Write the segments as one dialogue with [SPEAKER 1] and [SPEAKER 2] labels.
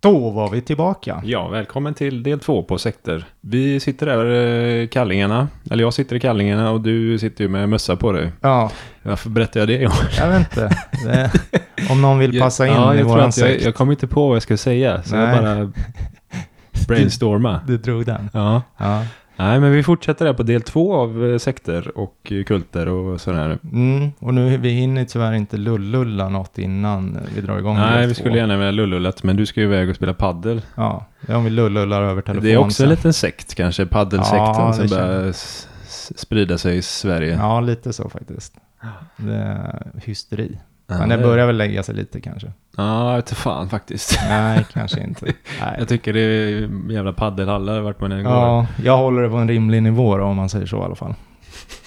[SPEAKER 1] Då var vi tillbaka.
[SPEAKER 2] Ja, välkommen till del två på sekter. Vi sitter där eh, i kallingarna. Eller jag sitter i kallingarna och du sitter ju med mössa på dig.
[SPEAKER 1] Ja,
[SPEAKER 2] Varför berättar jag det?
[SPEAKER 1] jag vet inte. Det, om någon vill passa in
[SPEAKER 2] ja,
[SPEAKER 1] i
[SPEAKER 2] jag, tror
[SPEAKER 1] våran
[SPEAKER 2] att jag,
[SPEAKER 1] sekt.
[SPEAKER 2] jag kom inte på vad jag skulle säga. Så
[SPEAKER 1] Nej.
[SPEAKER 2] jag bara brainstorma.
[SPEAKER 1] Du drog den.
[SPEAKER 2] Ja.
[SPEAKER 1] Ja.
[SPEAKER 2] Nej, men vi fortsätter där på del två av eh, sekter och eh, kulter och sådär.
[SPEAKER 1] Mm, och nu, vi hinner tyvärr inte lullulla något innan vi drar igång
[SPEAKER 2] Nej,
[SPEAKER 1] del
[SPEAKER 2] vi
[SPEAKER 1] två.
[SPEAKER 2] skulle gärna vilja lullullat, men du ska ju iväg och spela paddel.
[SPEAKER 1] Ja, det är om vi lullullar över telefon
[SPEAKER 2] Det är också
[SPEAKER 1] sen.
[SPEAKER 2] en liten sekt kanske, paddelsekten
[SPEAKER 1] Ja, det
[SPEAKER 2] som
[SPEAKER 1] känner
[SPEAKER 2] börjar s- s- sprida sig i Sverige.
[SPEAKER 1] Ja, lite så faktiskt. Det är hysteri.
[SPEAKER 2] Ja,
[SPEAKER 1] Men det
[SPEAKER 2] det-
[SPEAKER 1] börjar väl lägga sig lite kanske.
[SPEAKER 2] Ja, jag vet inte fan faktiskt.
[SPEAKER 1] Nej, kanske inte. Nej.
[SPEAKER 2] Jag tycker det är jävla paddelhallar vart man än går.
[SPEAKER 1] Ja, jag håller det på en rimlig nivå då, om man säger så i alla fall.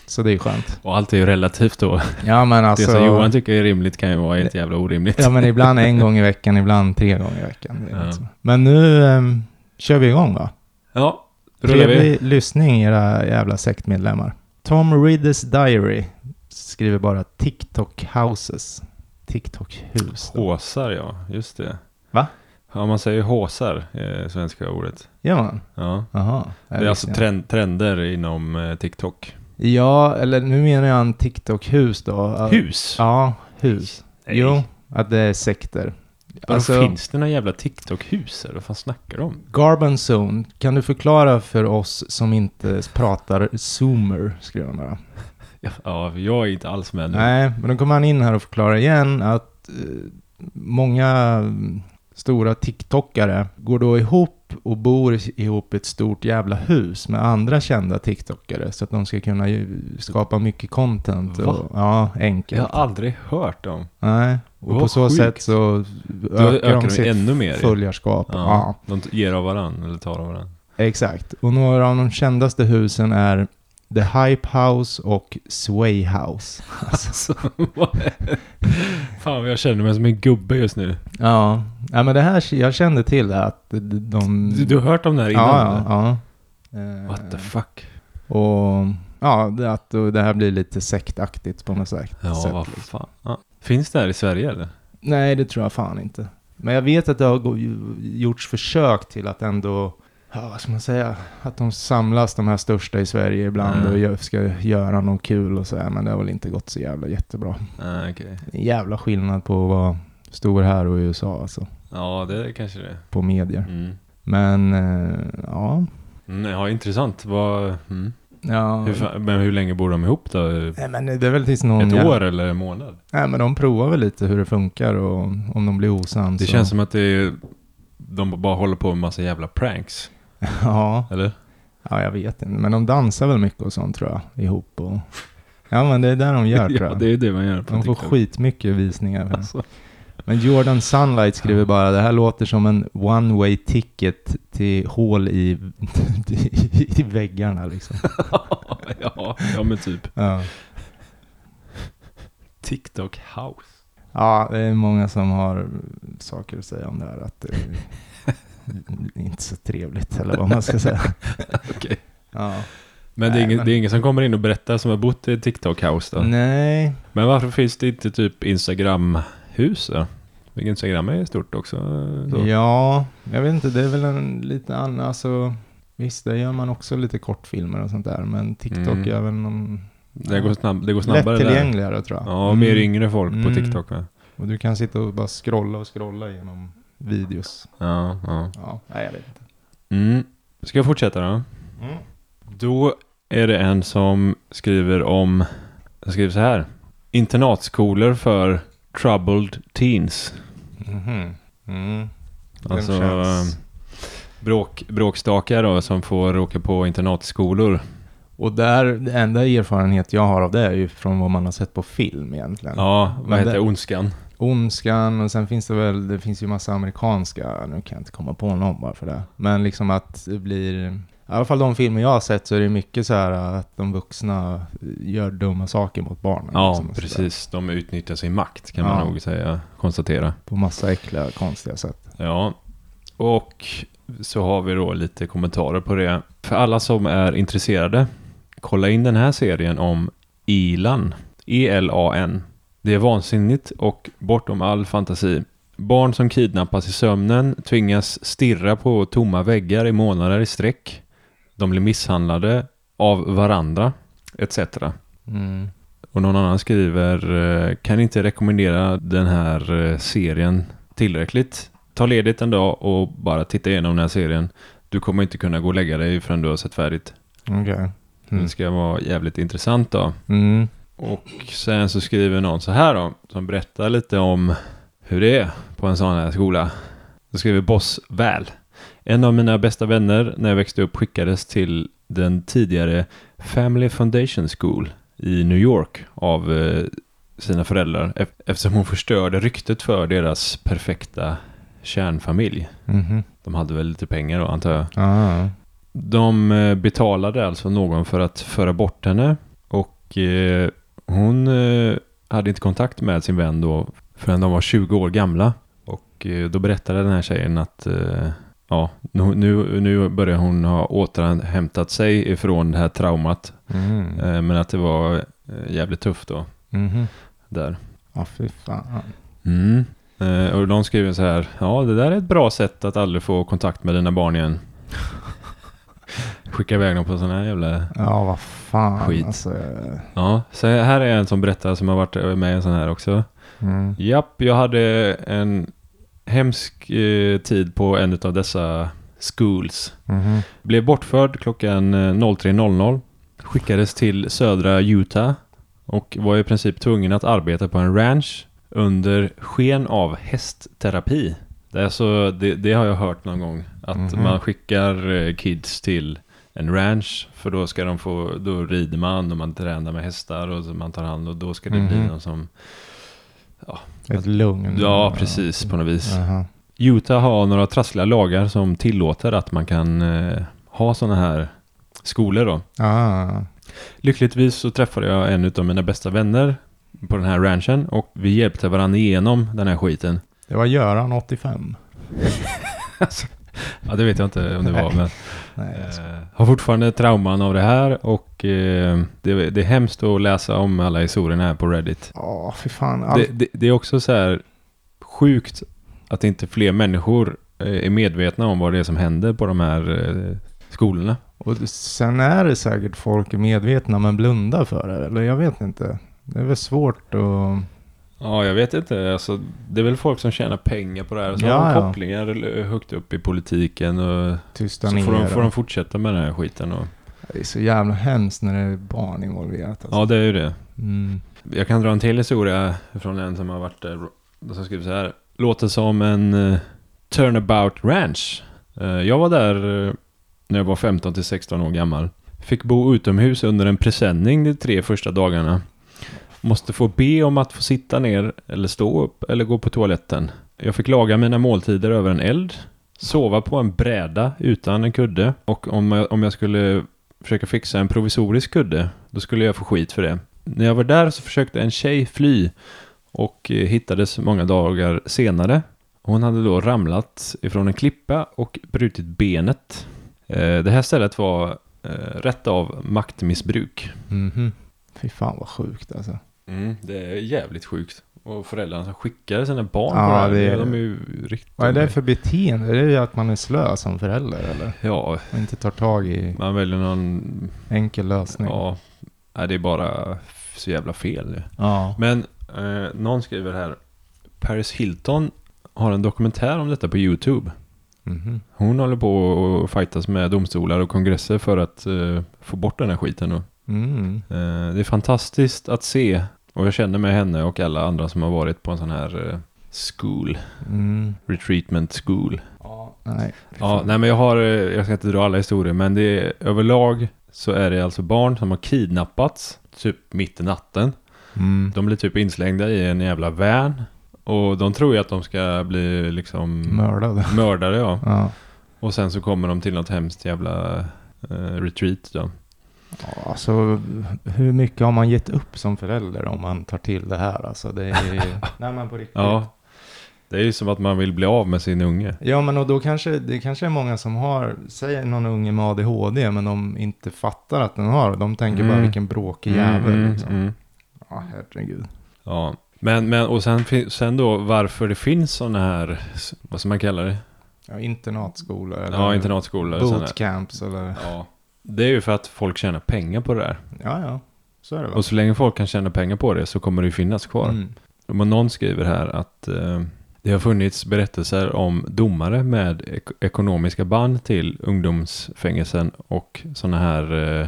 [SPEAKER 1] Så det är skönt.
[SPEAKER 2] Och allt är ju relativt då.
[SPEAKER 1] Ja, men alltså.
[SPEAKER 2] Det som Johan tycker är rimligt kan ju vara helt jävla orimligt.
[SPEAKER 1] Ja, men ibland en gång i veckan, ibland tre gånger i veckan. Det är
[SPEAKER 2] Ja.
[SPEAKER 1] liksom. Men nu ehm, kör vi igång va?
[SPEAKER 2] Ja, rullar vi.
[SPEAKER 1] Trevlig lyssning era jävla sektmedlemmar. Tom Ridders Diary skriver bara TikTok houses. TikTok hus. då.
[SPEAKER 2] Håsar ja, just det.
[SPEAKER 1] Va?
[SPEAKER 2] Ja, man säger håsar, eh, svenska ordet.
[SPEAKER 1] Gör man?
[SPEAKER 2] Ja.
[SPEAKER 1] Jaha. jag
[SPEAKER 2] Det
[SPEAKER 1] visste
[SPEAKER 2] är alltså
[SPEAKER 1] inte.
[SPEAKER 2] trend, trender inom eh, TikTok.
[SPEAKER 1] Ja, eller nu menar jag en TikTok-hus då. Att-
[SPEAKER 2] Hus?
[SPEAKER 1] Ja, hus.
[SPEAKER 2] Nej.
[SPEAKER 1] Jo, att det är sekter.
[SPEAKER 2] Vadå,
[SPEAKER 1] alltså-
[SPEAKER 2] finns det några jävla TikTok-hus eller vad fan snackar du om?
[SPEAKER 1] Garben Zone, kan du förklara för oss som inte pratar zoomer, skriver han bara.
[SPEAKER 2] Ja, Ja, jag är inte alls med nu.
[SPEAKER 1] Nej, men då kommer han in här och förklarar igen att eh, många mm, stora TikTokare går då ihop och bor ihop i ett stort jävla hus med andra kända TikTokare så att de ska kunna ju skapa mycket content.
[SPEAKER 2] Va?
[SPEAKER 1] Och, ja, enkelt.
[SPEAKER 2] Jag har aldrig hört om.
[SPEAKER 1] Nej, och
[SPEAKER 2] Vad
[SPEAKER 1] på så
[SPEAKER 2] sjukt.
[SPEAKER 1] sätt så
[SPEAKER 2] Då
[SPEAKER 1] ökar,
[SPEAKER 2] ökar
[SPEAKER 1] de
[SPEAKER 2] de
[SPEAKER 1] sitt
[SPEAKER 2] ännu mer.
[SPEAKER 1] följarskap.
[SPEAKER 2] Ja,
[SPEAKER 1] Ja.
[SPEAKER 2] De t- ger av varandra eller tar av varandra.
[SPEAKER 1] exakt. Och några av de kändaste husen är The Hype House och Sway House.
[SPEAKER 2] Alltså, vad är- fan vad jag känner mig som en gubbe just nu.
[SPEAKER 1] Ja, ja men det här, jag kände till det, att de...
[SPEAKER 2] Du, du har hört om det här innan?
[SPEAKER 1] ja,
[SPEAKER 2] eller?
[SPEAKER 1] ja, ja. Eh,
[SPEAKER 2] What the fuck?
[SPEAKER 1] Och ja, det, att det här blir lite sektaktigt på något sätt.
[SPEAKER 2] Ja,
[SPEAKER 1] sätt
[SPEAKER 2] vad
[SPEAKER 1] liksom.
[SPEAKER 2] fan. Ja. Finns det här i Sverige eller?
[SPEAKER 1] Nej, det tror jag fan inte. Men jag vet att det har gå- gjorts försök till att ändå, ja, vad ska man säga, att de samlas de här största i Sverige ibland
[SPEAKER 2] Mm.
[SPEAKER 1] och gör, ska göra något kul och så här, men det har väl inte gått så jävla jättebra.
[SPEAKER 2] Nej, Ah, okej.
[SPEAKER 1] Det är en jävla skillnad på att vara stor här och i USA alltså,
[SPEAKER 2] Ja, det är kanske det.
[SPEAKER 1] på medier.
[SPEAKER 2] Mm.
[SPEAKER 1] Men, eh, ja.
[SPEAKER 2] Mm, ja, intressant. Vad, mm.
[SPEAKER 1] ja.
[SPEAKER 2] hur, fa- men hur länge bor de ihop då?
[SPEAKER 1] Nej, men det är väl tills någon...
[SPEAKER 2] Ett
[SPEAKER 1] jävla-
[SPEAKER 2] år eller en månad?
[SPEAKER 1] Nej, men de provar väl lite hur det funkar och om de blir osams.
[SPEAKER 2] Det
[SPEAKER 1] och-
[SPEAKER 2] känns som att det är, de bara håller på med massa jävla pranks.
[SPEAKER 1] Ja.
[SPEAKER 2] Eller?
[SPEAKER 1] Ja, jag vet inte. Men de dansar väl mycket och sånt tror jag, ihop. Och... Ja, men det är där de gör tror
[SPEAKER 2] ja,
[SPEAKER 1] jag.
[SPEAKER 2] det är det man gör på
[SPEAKER 1] De får
[SPEAKER 2] TikTok.
[SPEAKER 1] skitmycket visningar.
[SPEAKER 2] Alltså.
[SPEAKER 1] Men Jordan Sunlight skriver bara, det här låter som en one way ticket till hål i, i väggarna liksom.
[SPEAKER 2] ja, ja, men typ
[SPEAKER 1] Ja.
[SPEAKER 2] TikTok house.
[SPEAKER 1] ja, det är många som har saker att säga om det här. Att det är inte så trevligt eller vad man ska säga.
[SPEAKER 2] Okej.
[SPEAKER 1] Ja.
[SPEAKER 2] Men, det
[SPEAKER 1] Nej,
[SPEAKER 2] är ingen,
[SPEAKER 1] men-
[SPEAKER 2] det är ingen som kommer in och berättar som har bott i TikTok house då.
[SPEAKER 1] Nej,
[SPEAKER 2] Men varför finns det inte typ Instagram hus då? Instagram är stort också. eh, Så.
[SPEAKER 1] Ja, jag vet inte, det är väl en lite annan, alltså visst, där gör man också lite kortfilmer och sånt där, men TikTok
[SPEAKER 2] Mm.
[SPEAKER 1] är väl någon
[SPEAKER 2] Det, går snabb, det går snabbare där.
[SPEAKER 1] lättillgängligare tror jag.
[SPEAKER 2] Ja, och mer
[SPEAKER 1] Mm.
[SPEAKER 2] yngre folk
[SPEAKER 1] Mm.
[SPEAKER 2] på TikTok va?
[SPEAKER 1] Och du kan sitta och bara scrolla och scrolla genom videos.
[SPEAKER 2] Ja, ja.
[SPEAKER 1] Ja, nej jag vet inte.
[SPEAKER 2] Mm. Ska jag fortsätta då?
[SPEAKER 1] Mm.
[SPEAKER 2] Då är det en som skriver om, jag skriver så här. Internatskolor för troubled teens.
[SPEAKER 1] Mhm. Mm. Den
[SPEAKER 2] Alltså
[SPEAKER 1] känns-
[SPEAKER 2] eh, bråk, bråkstakar då, som får åka på internatskolor.
[SPEAKER 1] Och där, det enda erfarenhet jag har av det är ju från vad man har sett på film egentligen.
[SPEAKER 2] Ja,
[SPEAKER 1] Men
[SPEAKER 2] vad heter
[SPEAKER 1] det-
[SPEAKER 2] det? Ondskan?
[SPEAKER 1] Ondskan och sen finns det väl, det finns ju massa amerikanska, nu kan jag inte komma på någon bara för det. Men liksom att det blir, i alla fall de filmer jag har sett så är det mycket så här att de vuxna gör dumma saker mot barnen.
[SPEAKER 2] Ja,
[SPEAKER 1] liksom, och så där.
[SPEAKER 2] precis. De utnyttjar sin makt kan
[SPEAKER 1] Ja.
[SPEAKER 2] man nog säga, konstatera.
[SPEAKER 1] På massa äckliga, konstiga sätt.
[SPEAKER 2] Ja, och så har vi då lite kommentarer på det. För alla som är intresserade, kolla in den här serien om E Elan. E-L-A-N. Det är vansinnigt och bortom all fantasi. Barn som kidnappas i sömnen tvingas stirra på tomma väggar i månader i sträck. De blir misshandlade av varandra, etc.
[SPEAKER 1] Mm.
[SPEAKER 2] Och någon annan skriver eh, Kan inte rekommendera den här eh, serien tillräckligt. Ta ledigt en dag och bara titta igenom den här serien. Du kommer inte kunna gå och lägga dig förrän du har sett färdigt.
[SPEAKER 1] Okej. Mm.
[SPEAKER 2] Det ska vara jävligt intressant då.
[SPEAKER 1] Mm.
[SPEAKER 2] Och sen så skriver någon så här då, som berättar lite om hur det är på en sån här skola. Då skriver Boss Väl. En av mina bästa vänner när jag växte upp skickades till den tidigare Family Foundation School i New York av eh, sina föräldrar ef- eftersom hon förstörde ryktet för deras perfekta kärnfamilj.
[SPEAKER 1] Mhm.
[SPEAKER 2] De hade väl lite pengar då antar jag.
[SPEAKER 1] Ah.
[SPEAKER 2] De eh, betalade alltså någon för att föra bort henne och eh, hon eh, hade inte kontakt med sin vän då förrän de var 20 år gamla. Och eh, då berättade den här tjejen att eh, ja, nu- nu, nu börjar hon ha återhämtat sig ifrån det här traumat.
[SPEAKER 1] Mm.
[SPEAKER 2] Eh, Men att det var eh, jävligt tufft då,
[SPEAKER 1] Mhm.
[SPEAKER 2] där.
[SPEAKER 1] Ja, fy fan.
[SPEAKER 2] Mm. Eh, Och de skriver så här, ja det där är ett bra sätt att aldrig få kontakt med dina barn igen. Skicka iväg dem på sådana här jävla
[SPEAKER 1] Ja, vad fan.
[SPEAKER 2] Skit.
[SPEAKER 1] Alltså, eh,
[SPEAKER 2] Ja, så här är en som berättar som har varit med i en sån här också.
[SPEAKER 1] mm.
[SPEAKER 2] Japp, jag hade en hemsk eh, tid på en av dessa schools.
[SPEAKER 1] Mhm.
[SPEAKER 2] Blev bortförd klockan eh, 03.00. Skickades till södra Utah och var i princip tvungen att arbeta på en ranch under sken av hästterapi. Det, är så, det, det har jag hört någon gång. Att
[SPEAKER 1] Mhm.
[SPEAKER 2] man skickar eh, kids till en ranch för då ska de få, då rider man och man tränar med hästar och så man tar hand och då ska det bli
[SPEAKER 1] Mhm.
[SPEAKER 2] någon som,
[SPEAKER 1] Ett lugn.
[SPEAKER 2] ja precis på något vis.
[SPEAKER 1] Jaha.
[SPEAKER 2] Utah har några trassliga lagar som tillåter att man kan eh, ha sådana här skolor då.
[SPEAKER 1] Ah.
[SPEAKER 2] Lyckligtvis så träffade jag en av mina bästa vänner på den här ranchen och vi hjälpte varandra igenom den här skiten.
[SPEAKER 1] Det var Göran 85.
[SPEAKER 2] Ja, det vet jag inte om det var, men
[SPEAKER 1] Nej, jag skojar.
[SPEAKER 2] eh, har fortfarande trauman av det här och eh, det, det är hemskt att läsa om alla historierna här på Reddit.
[SPEAKER 1] Ja, fy fan.
[SPEAKER 2] Det,
[SPEAKER 1] Allt.
[SPEAKER 2] det, det är också så här sjukt att inte fler människor eh, är medvetna om vad det är som händer på de här eh, skolorna.
[SPEAKER 1] Och sen är det säkert folk är medvetna men blundar för det. Eller jag vet inte. Det är väl svårt att...
[SPEAKER 2] Ja, jag vet inte. Alltså, det är väl folk som tjänar pengar på det här. Så
[SPEAKER 1] Ja,
[SPEAKER 2] har de
[SPEAKER 1] ja.
[SPEAKER 2] kopplingar eh, högt upp i politiken och
[SPEAKER 1] Tysta
[SPEAKER 2] så
[SPEAKER 1] ner
[SPEAKER 2] får de,
[SPEAKER 1] det.
[SPEAKER 2] får de fortsätta med den här skiten. Och,
[SPEAKER 1] Det är så jävla hemskt när det är barn involverat. Alltså.
[SPEAKER 2] ja, det är ju det.
[SPEAKER 1] Mm.
[SPEAKER 2] Jag kan dra en till historia från en som har varit där. Som skriver så här. Låter som en eh, turnabout ranch. Eh, jag var där eh, när jag var 15 till 16 år gammal. Fick bo utomhus under en presenning de tre första dagarna. Måste få be om att få sitta ner eller stå upp eller gå på toaletten. Jag fick laga mina måltider över en eld. Sova på en bräda utan en kudde. Och om jag, om jag skulle försöka fixa en provisorisk kudde, då skulle jag få skit för det. När jag var där så försökte en tjej fly och eh, hittades många dagar senare. Hon hade då ramlat ifrån en klippa och brutit benet. Eh, Det här stället var eh, rätt av maktmissbruk.
[SPEAKER 1] Mhm. Fy fan vad sjukt alltså.
[SPEAKER 2] Mm, det är jävligt sjukt. Och föräldrarna som skickar sina barn
[SPEAKER 1] Ja,
[SPEAKER 2] på det här,
[SPEAKER 1] det är-
[SPEAKER 2] de är ju riktigt...
[SPEAKER 1] Vad är det för beteende? Är det att man är slö som förälder eller?
[SPEAKER 2] Ja,
[SPEAKER 1] Och inte tar tag i
[SPEAKER 2] man väljer någon...
[SPEAKER 1] enkel lösning?
[SPEAKER 2] Ja, nej, det är bara så jävla fel.
[SPEAKER 1] Ja.
[SPEAKER 2] Men eh, någon skriver här. Paris Hilton har en dokumentär om detta på YouTube.
[SPEAKER 1] Mhm.
[SPEAKER 2] Hon håller på och fightas med domstolar och kongresser för att eh, få bort den här skiten. Då.
[SPEAKER 1] Mm.
[SPEAKER 2] Eh, det är fantastiskt att se och jag känner med henne och alla andra som har varit på en sån här eh, school,
[SPEAKER 1] Mm.
[SPEAKER 2] retreatment school.
[SPEAKER 1] Ja. Nej. fy
[SPEAKER 2] Ja,
[SPEAKER 1] fan.
[SPEAKER 2] nej men jag har, eh, jag ska inte dra alla historier, men det är, överlag så är det alltså barn som har kidnappats typ mitt i natten.
[SPEAKER 1] Mm.
[SPEAKER 2] De blir typ inslängda i en jävla van Och de tror ju att de ska bli liksom
[SPEAKER 1] Mördade.
[SPEAKER 2] mördare ja.
[SPEAKER 1] Ja.
[SPEAKER 2] Och sen så kommer de till något hemskt jävla eh, retreat då.
[SPEAKER 1] Ja, Alltså, hur mycket har man gett upp som förälder om man tar till det här? Alltså, det är ju... Nej, men på riktigt.
[SPEAKER 2] Ja. Det är ju som att man vill bli av med sin unge.
[SPEAKER 1] Ja, men och då kanske det kanske är många som har, säg någon unge med ADHD, men de inte fattar att den har. De tänker bara
[SPEAKER 2] Mm.
[SPEAKER 1] vilken bråkig jävel.
[SPEAKER 2] Mm,
[SPEAKER 1] liksom.
[SPEAKER 2] mm.
[SPEAKER 1] Ja, herregud.
[SPEAKER 2] Ja. Men, men och sen, fin- sen då varför det finns sådana här, s- vad ska man kalla det?
[SPEAKER 1] Ja, internatskolor eller
[SPEAKER 2] Ja, internatskolor. och såna här.
[SPEAKER 1] bootcamps eller...
[SPEAKER 2] Ja. Det är ju för att folk tjänar pengar på det där.
[SPEAKER 1] Ja, ja. Så är det va?
[SPEAKER 2] Och så länge folk kan tjäna pengar på det så kommer det ju finnas kvar.
[SPEAKER 1] Mm.
[SPEAKER 2] Men någon skriver här att eh, det har funnits berättelser om domare med ek- ekonomiska band till ungdomsfängelsen och sådana här eh,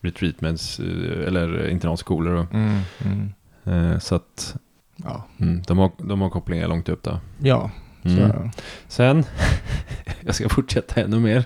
[SPEAKER 2] retreatments eh, eller internatskolor. och,
[SPEAKER 1] Mm. Mm.
[SPEAKER 2] Eh, så att
[SPEAKER 1] Ja,
[SPEAKER 2] mm, de, har, de har kopplingar långt upp där.
[SPEAKER 1] ja så
[SPEAKER 2] Mm.
[SPEAKER 1] är det.
[SPEAKER 2] Sen, jag ska fortsätta ännu mer.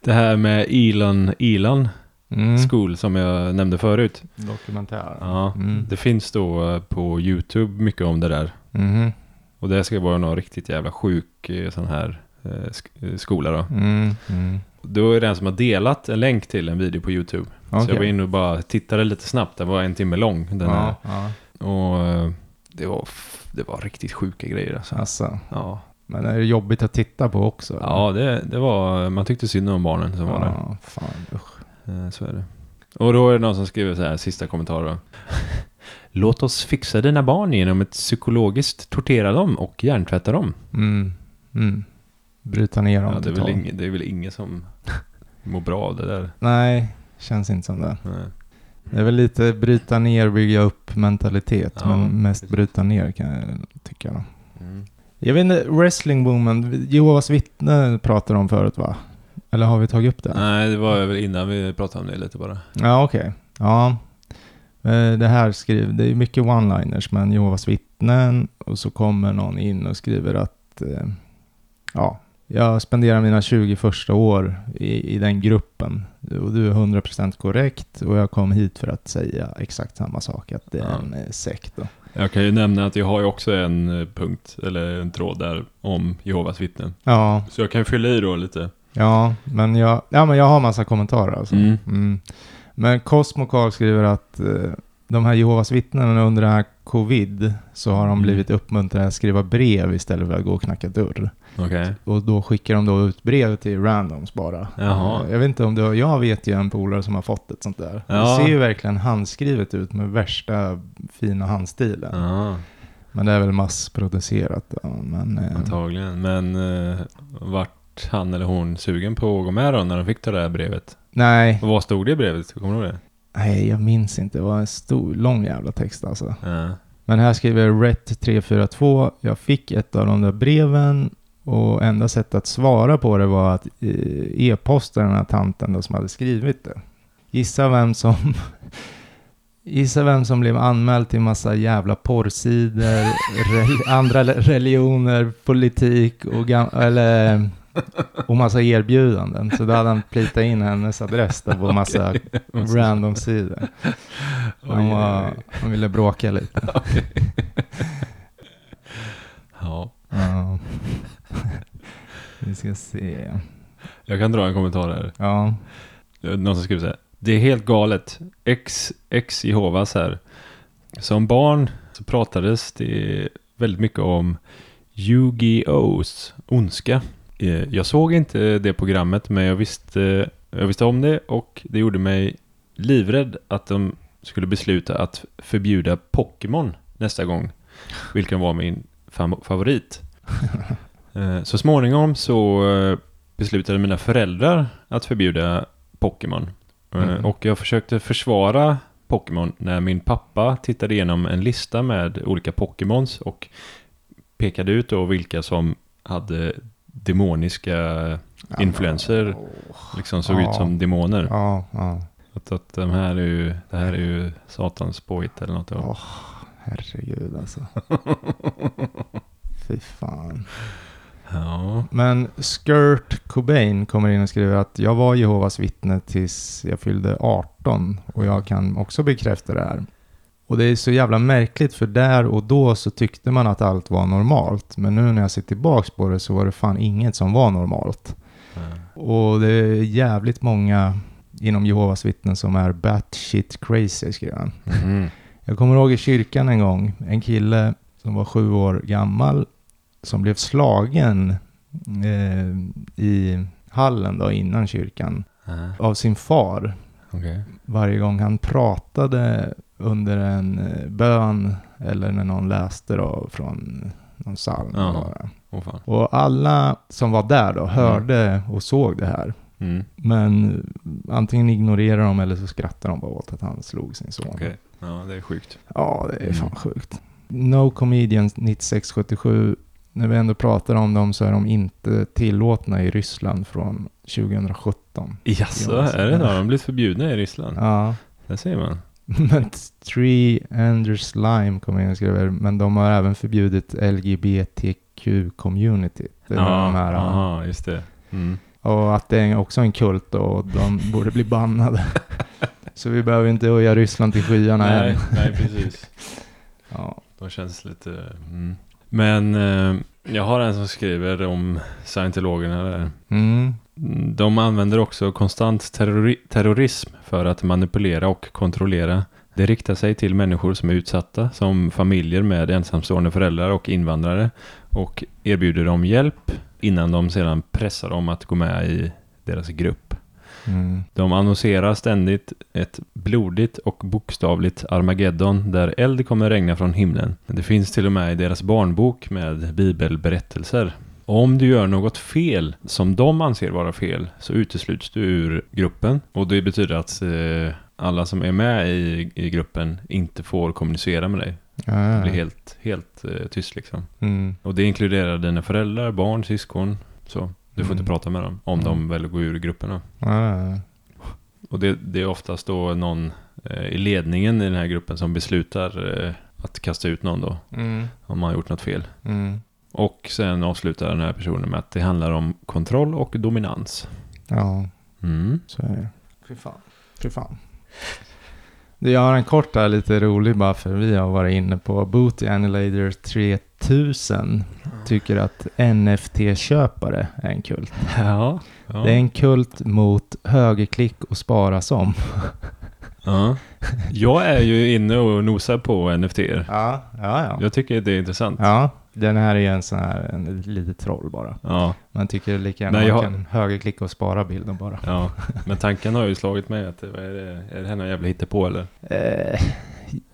[SPEAKER 2] Det här med Elon, Elon
[SPEAKER 1] Mm.
[SPEAKER 2] School som jag nämnde förut.
[SPEAKER 1] Dokumentär.
[SPEAKER 2] Ja,
[SPEAKER 1] Mm.
[SPEAKER 2] Det finns då eh, på YouTube mycket om det där.
[SPEAKER 1] Mhm.
[SPEAKER 2] Och det ska vara någon riktigt jävla sjuk eh, sån här eh, sk- eh, skola då.
[SPEAKER 1] Mm. Mm.
[SPEAKER 2] Då är det en som har delat en länk till en video på YouTube. Så jag var
[SPEAKER 1] Okej.
[SPEAKER 2] inne och bara tittade lite snabbt. Den var en timme lång. Den här.
[SPEAKER 1] Ja, ja.
[SPEAKER 2] Och eh, det var, f- det var riktigt sjuka grejer alltså.
[SPEAKER 1] Alltså,
[SPEAKER 2] Ja,
[SPEAKER 1] men är det jobbigt att titta på också? eller?
[SPEAKER 2] ja det, det var, man tyckte synd om barnen som var där.
[SPEAKER 1] Ja, fan usch.
[SPEAKER 2] Eh, Så är det. Och då är det någon som skriver så här, sista kommentar då. Låt oss fixa dina barn genom att psykologiskt tortera dem och hjärntvätta dem.
[SPEAKER 1] Mm. Mm. Bryta ner dem
[SPEAKER 2] Ja, det, är väl
[SPEAKER 1] totalt.
[SPEAKER 2] ingen, det är väl ingen som mår bra av det där.
[SPEAKER 1] Nej, känns inte som det.
[SPEAKER 2] Nej.
[SPEAKER 1] Det är väl lite bryta ner, bygga upp mentalitet.
[SPEAKER 2] Ja,
[SPEAKER 1] men mest
[SPEAKER 2] precis.
[SPEAKER 1] bryta ner kan jag tycka. Då. Jag vet inte, wrestling woman, Jehovas vittne pratade om förut va? Eller har vi tagit upp det?
[SPEAKER 2] Nej, det var väl innan vi pratade om det lite bara.
[SPEAKER 1] Ja, okej. Ja. Eh, Det här skriver, det är mycket one-liners, men Jehovas vittnen och så kommer någon in och skriver att eh, ja, jag spenderar mina 20 första år i, i den gruppen och du är 100% korrekt och jag kom hit för att säga exakt samma sak, att det är
[SPEAKER 2] Ja.
[SPEAKER 1] en eh, sekt. Då.
[SPEAKER 2] Jag kan ju nämna att jag har ju också en eh, punkt, eller en tråd där, om Jehovas vittnen.
[SPEAKER 1] Ja,
[SPEAKER 2] Så jag kan fylla i då lite.
[SPEAKER 1] ja, men jag, ja, men jag har massa kommentarer alltså.
[SPEAKER 2] Mm.
[SPEAKER 1] Mm. Men Cosmo Carl skriver att eh, de här Jehovas vittnen under den här covid så har de
[SPEAKER 2] Mm.
[SPEAKER 1] blivit uppmuntrade att skriva brev istället för att gå och knacka dörr.
[SPEAKER 2] Okej.
[SPEAKER 1] Och då skickar de då ut brev till randoms bara.
[SPEAKER 2] Jaha.
[SPEAKER 1] Eh, Jag vet inte om du har, jag vet ju en polare som har fått ett sånt där.
[SPEAKER 2] Ja.
[SPEAKER 1] Det ser ju verkligen handskrivet ut med värsta fina handstilen.
[SPEAKER 2] Ja,
[SPEAKER 1] Men det är väl massproducerat. Ja, men, eh,
[SPEAKER 2] antagligen. Men eh, vart han eller hon sugen på att gå med då när de fick det där brevet?
[SPEAKER 1] nej,
[SPEAKER 2] Och vad stod det i brevet? Kommer du ihåg det?
[SPEAKER 1] nej, jag minns inte. Det var en stor, lång jävla text alltså.
[SPEAKER 2] Ja.
[SPEAKER 1] Men här skriver Ret342, jag fick ett av de där breven och enda sättet att svara på det var att eh, e-posta den här tanten då som hade skrivit det. Gissa vem som... Gissa vem som blev anmäld till massa jävla porrsidor, re, andra le- religioner, politik och, gam, eller, och massa erbjudanden. Så då hade han plitat in hennes adress där på massa random sidor. Han,
[SPEAKER 2] Oj,
[SPEAKER 1] var,
[SPEAKER 2] oj, oj.
[SPEAKER 1] han ville bråka lite.
[SPEAKER 2] Ja.
[SPEAKER 1] Ja. Vi ska se.
[SPEAKER 2] Jag kan dra en kommentar här.
[SPEAKER 1] Ja.
[SPEAKER 2] Eh, Någon som skriver så här. Det är helt galet. Ex, ex Jehovas här. Som barn så pratades det väldigt mycket om Yu-Gi-Ohs ondska. Eh, Jag såg inte det programmet men jag visste, jag visste om det och det gjorde mig livrädd att de skulle besluta att förbjuda Pokémon nästa gång. Vilken var min fam- favorit. Eh, Så småningom så eh, beslutade mina föräldrar att förbjuda Pokémon. Eh,
[SPEAKER 1] Mm.
[SPEAKER 2] Och jag försökte försvara Pokémon när min pappa tittade igenom en lista med olika Pokémons och pekade ut då vilka som hade demoniska, Influencer. liksom såg
[SPEAKER 1] Ja.
[SPEAKER 2] ut som demoner.
[SPEAKER 1] Ja, ja.
[SPEAKER 2] Att, att de här är ju, det här är ju satans påhitt eller något.
[SPEAKER 1] Ja. Herregud alltså. Fy fan.
[SPEAKER 2] Ja.
[SPEAKER 1] Men Skirt Cobain kommer in och skriver att jag var Jehovas vittne tills jag fyllde 18 och jag kan också bekräfta det här. Och det är så jävla märkligt för där och då så tyckte man att allt var normalt. Men nu när jag ser tillbaks på det så var det fan inget som var normalt.
[SPEAKER 2] Mm.
[SPEAKER 1] Och det är jävligt många inom Jehovas vittnen som är batshit crazy, skrev han.
[SPEAKER 2] Mhm.
[SPEAKER 1] Jag kommer ihåg i kyrkan en gång, en kille som var sju år gammal som blev slagen eh, i hallen då innan kyrkan
[SPEAKER 2] Ah,
[SPEAKER 1] av sin far
[SPEAKER 2] Okej.
[SPEAKER 1] varje gång han pratade under en eh, bön eller när någon läste då från någon psalm.
[SPEAKER 2] Ja.
[SPEAKER 1] bara.
[SPEAKER 2] Åh fan.
[SPEAKER 1] Och alla som var där då hörde och såg det här.
[SPEAKER 2] Mm.
[SPEAKER 1] Men antingen ignorerar de eller så skrattar de bara åt att han slog sin son.
[SPEAKER 2] Okej. Ja, det är sjukt.
[SPEAKER 1] Ja, det är fan
[SPEAKER 2] Mm.
[SPEAKER 1] sjukt. No Comedians 9677, när vi ändå pratar om dem så är de inte tillåtna i Ryssland från 2017.
[SPEAKER 2] Jaså,
[SPEAKER 1] Ja, så-
[SPEAKER 2] är det då? De har blivit förbjudna i Ryssland?
[SPEAKER 1] Ja,
[SPEAKER 2] Det säger man.
[SPEAKER 1] men Tree Anders Slime kommer in och skriver, men de har även förbjudit LGBTQ-community. Det är de här, ja.
[SPEAKER 2] aha, just det. Mm.
[SPEAKER 1] och att det är också en kult då, och de borde bli bannade. så vi behöver inte höja Ryssland till skyarna
[SPEAKER 2] Nej,
[SPEAKER 1] än.
[SPEAKER 2] nej, precis.
[SPEAKER 1] Ja.
[SPEAKER 2] De känns lite... Mm. Men eh, jag har en som skriver om scientologerna där.
[SPEAKER 1] Mm.
[SPEAKER 2] Mm, De använder också konstant terrori- terrorism för att manipulera och kontrollera. Det riktar sig till människor som är utsatta, som familjer med ensamstående föräldrar och invandrare och erbjuder dem hjälp innan de sedan pressar dem att gå med i deras grupp.
[SPEAKER 1] Mm.
[SPEAKER 2] De annonserar ständigt ett blodigt och bokstavligt Armageddon där eld kommer regna från himlen. Det finns till och med i deras barnbok med bibelberättelser. Om du gör något fel som de anser vara fel så utesluts du ur gruppen och det betyder att eh, alla som är med i, i gruppen inte får kommunicera med dig. Det
[SPEAKER 1] Ja,
[SPEAKER 2] blir
[SPEAKER 1] ja.
[SPEAKER 2] helt, helt eh, tyst liksom.
[SPEAKER 1] Mm.
[SPEAKER 2] Och det inkluderar dina föräldrar, barn, syskon. Så du får
[SPEAKER 1] Mm.
[SPEAKER 2] inte prata med dem om de väl går ur gruppen. Då.
[SPEAKER 1] Ja, ja.
[SPEAKER 2] Och det, det är oftast då någon eh, i ledningen i den här gruppen som beslutar eh, att kasta ut någon då,
[SPEAKER 1] Mm.
[SPEAKER 2] om man har gjort något fel.
[SPEAKER 1] Mm.
[SPEAKER 2] Och sen avslutar den här personen med att det handlar om kontroll och dominans.
[SPEAKER 1] Ja,
[SPEAKER 2] Mm.
[SPEAKER 1] så är det. Fy fan. Fy fan. Det- Jag har en kort här, lite rolig bara för vi har varit inne på. Booty Annihilator 3000 tycker att NFT-köpare är en kult.
[SPEAKER 2] Ja. Ja.
[SPEAKER 1] Det är en kult mot högerklick och spara som.
[SPEAKER 2] ja. Jag är ju inne och nosar på nft
[SPEAKER 1] Ja, ja,
[SPEAKER 2] Jag tycker det är intressant.
[SPEAKER 1] Ja, den här är ju en sån här, en litet troll bara.
[SPEAKER 2] Ja,
[SPEAKER 1] Man tycker lika gärna
[SPEAKER 2] Nej,
[SPEAKER 1] man
[SPEAKER 2] jag-
[SPEAKER 1] kan högerklicka och spara bilden bara.
[SPEAKER 2] ja. Men tanken har ju slagit mig att vad är det, är det här någon jävla hittepå eller?
[SPEAKER 1] Eh,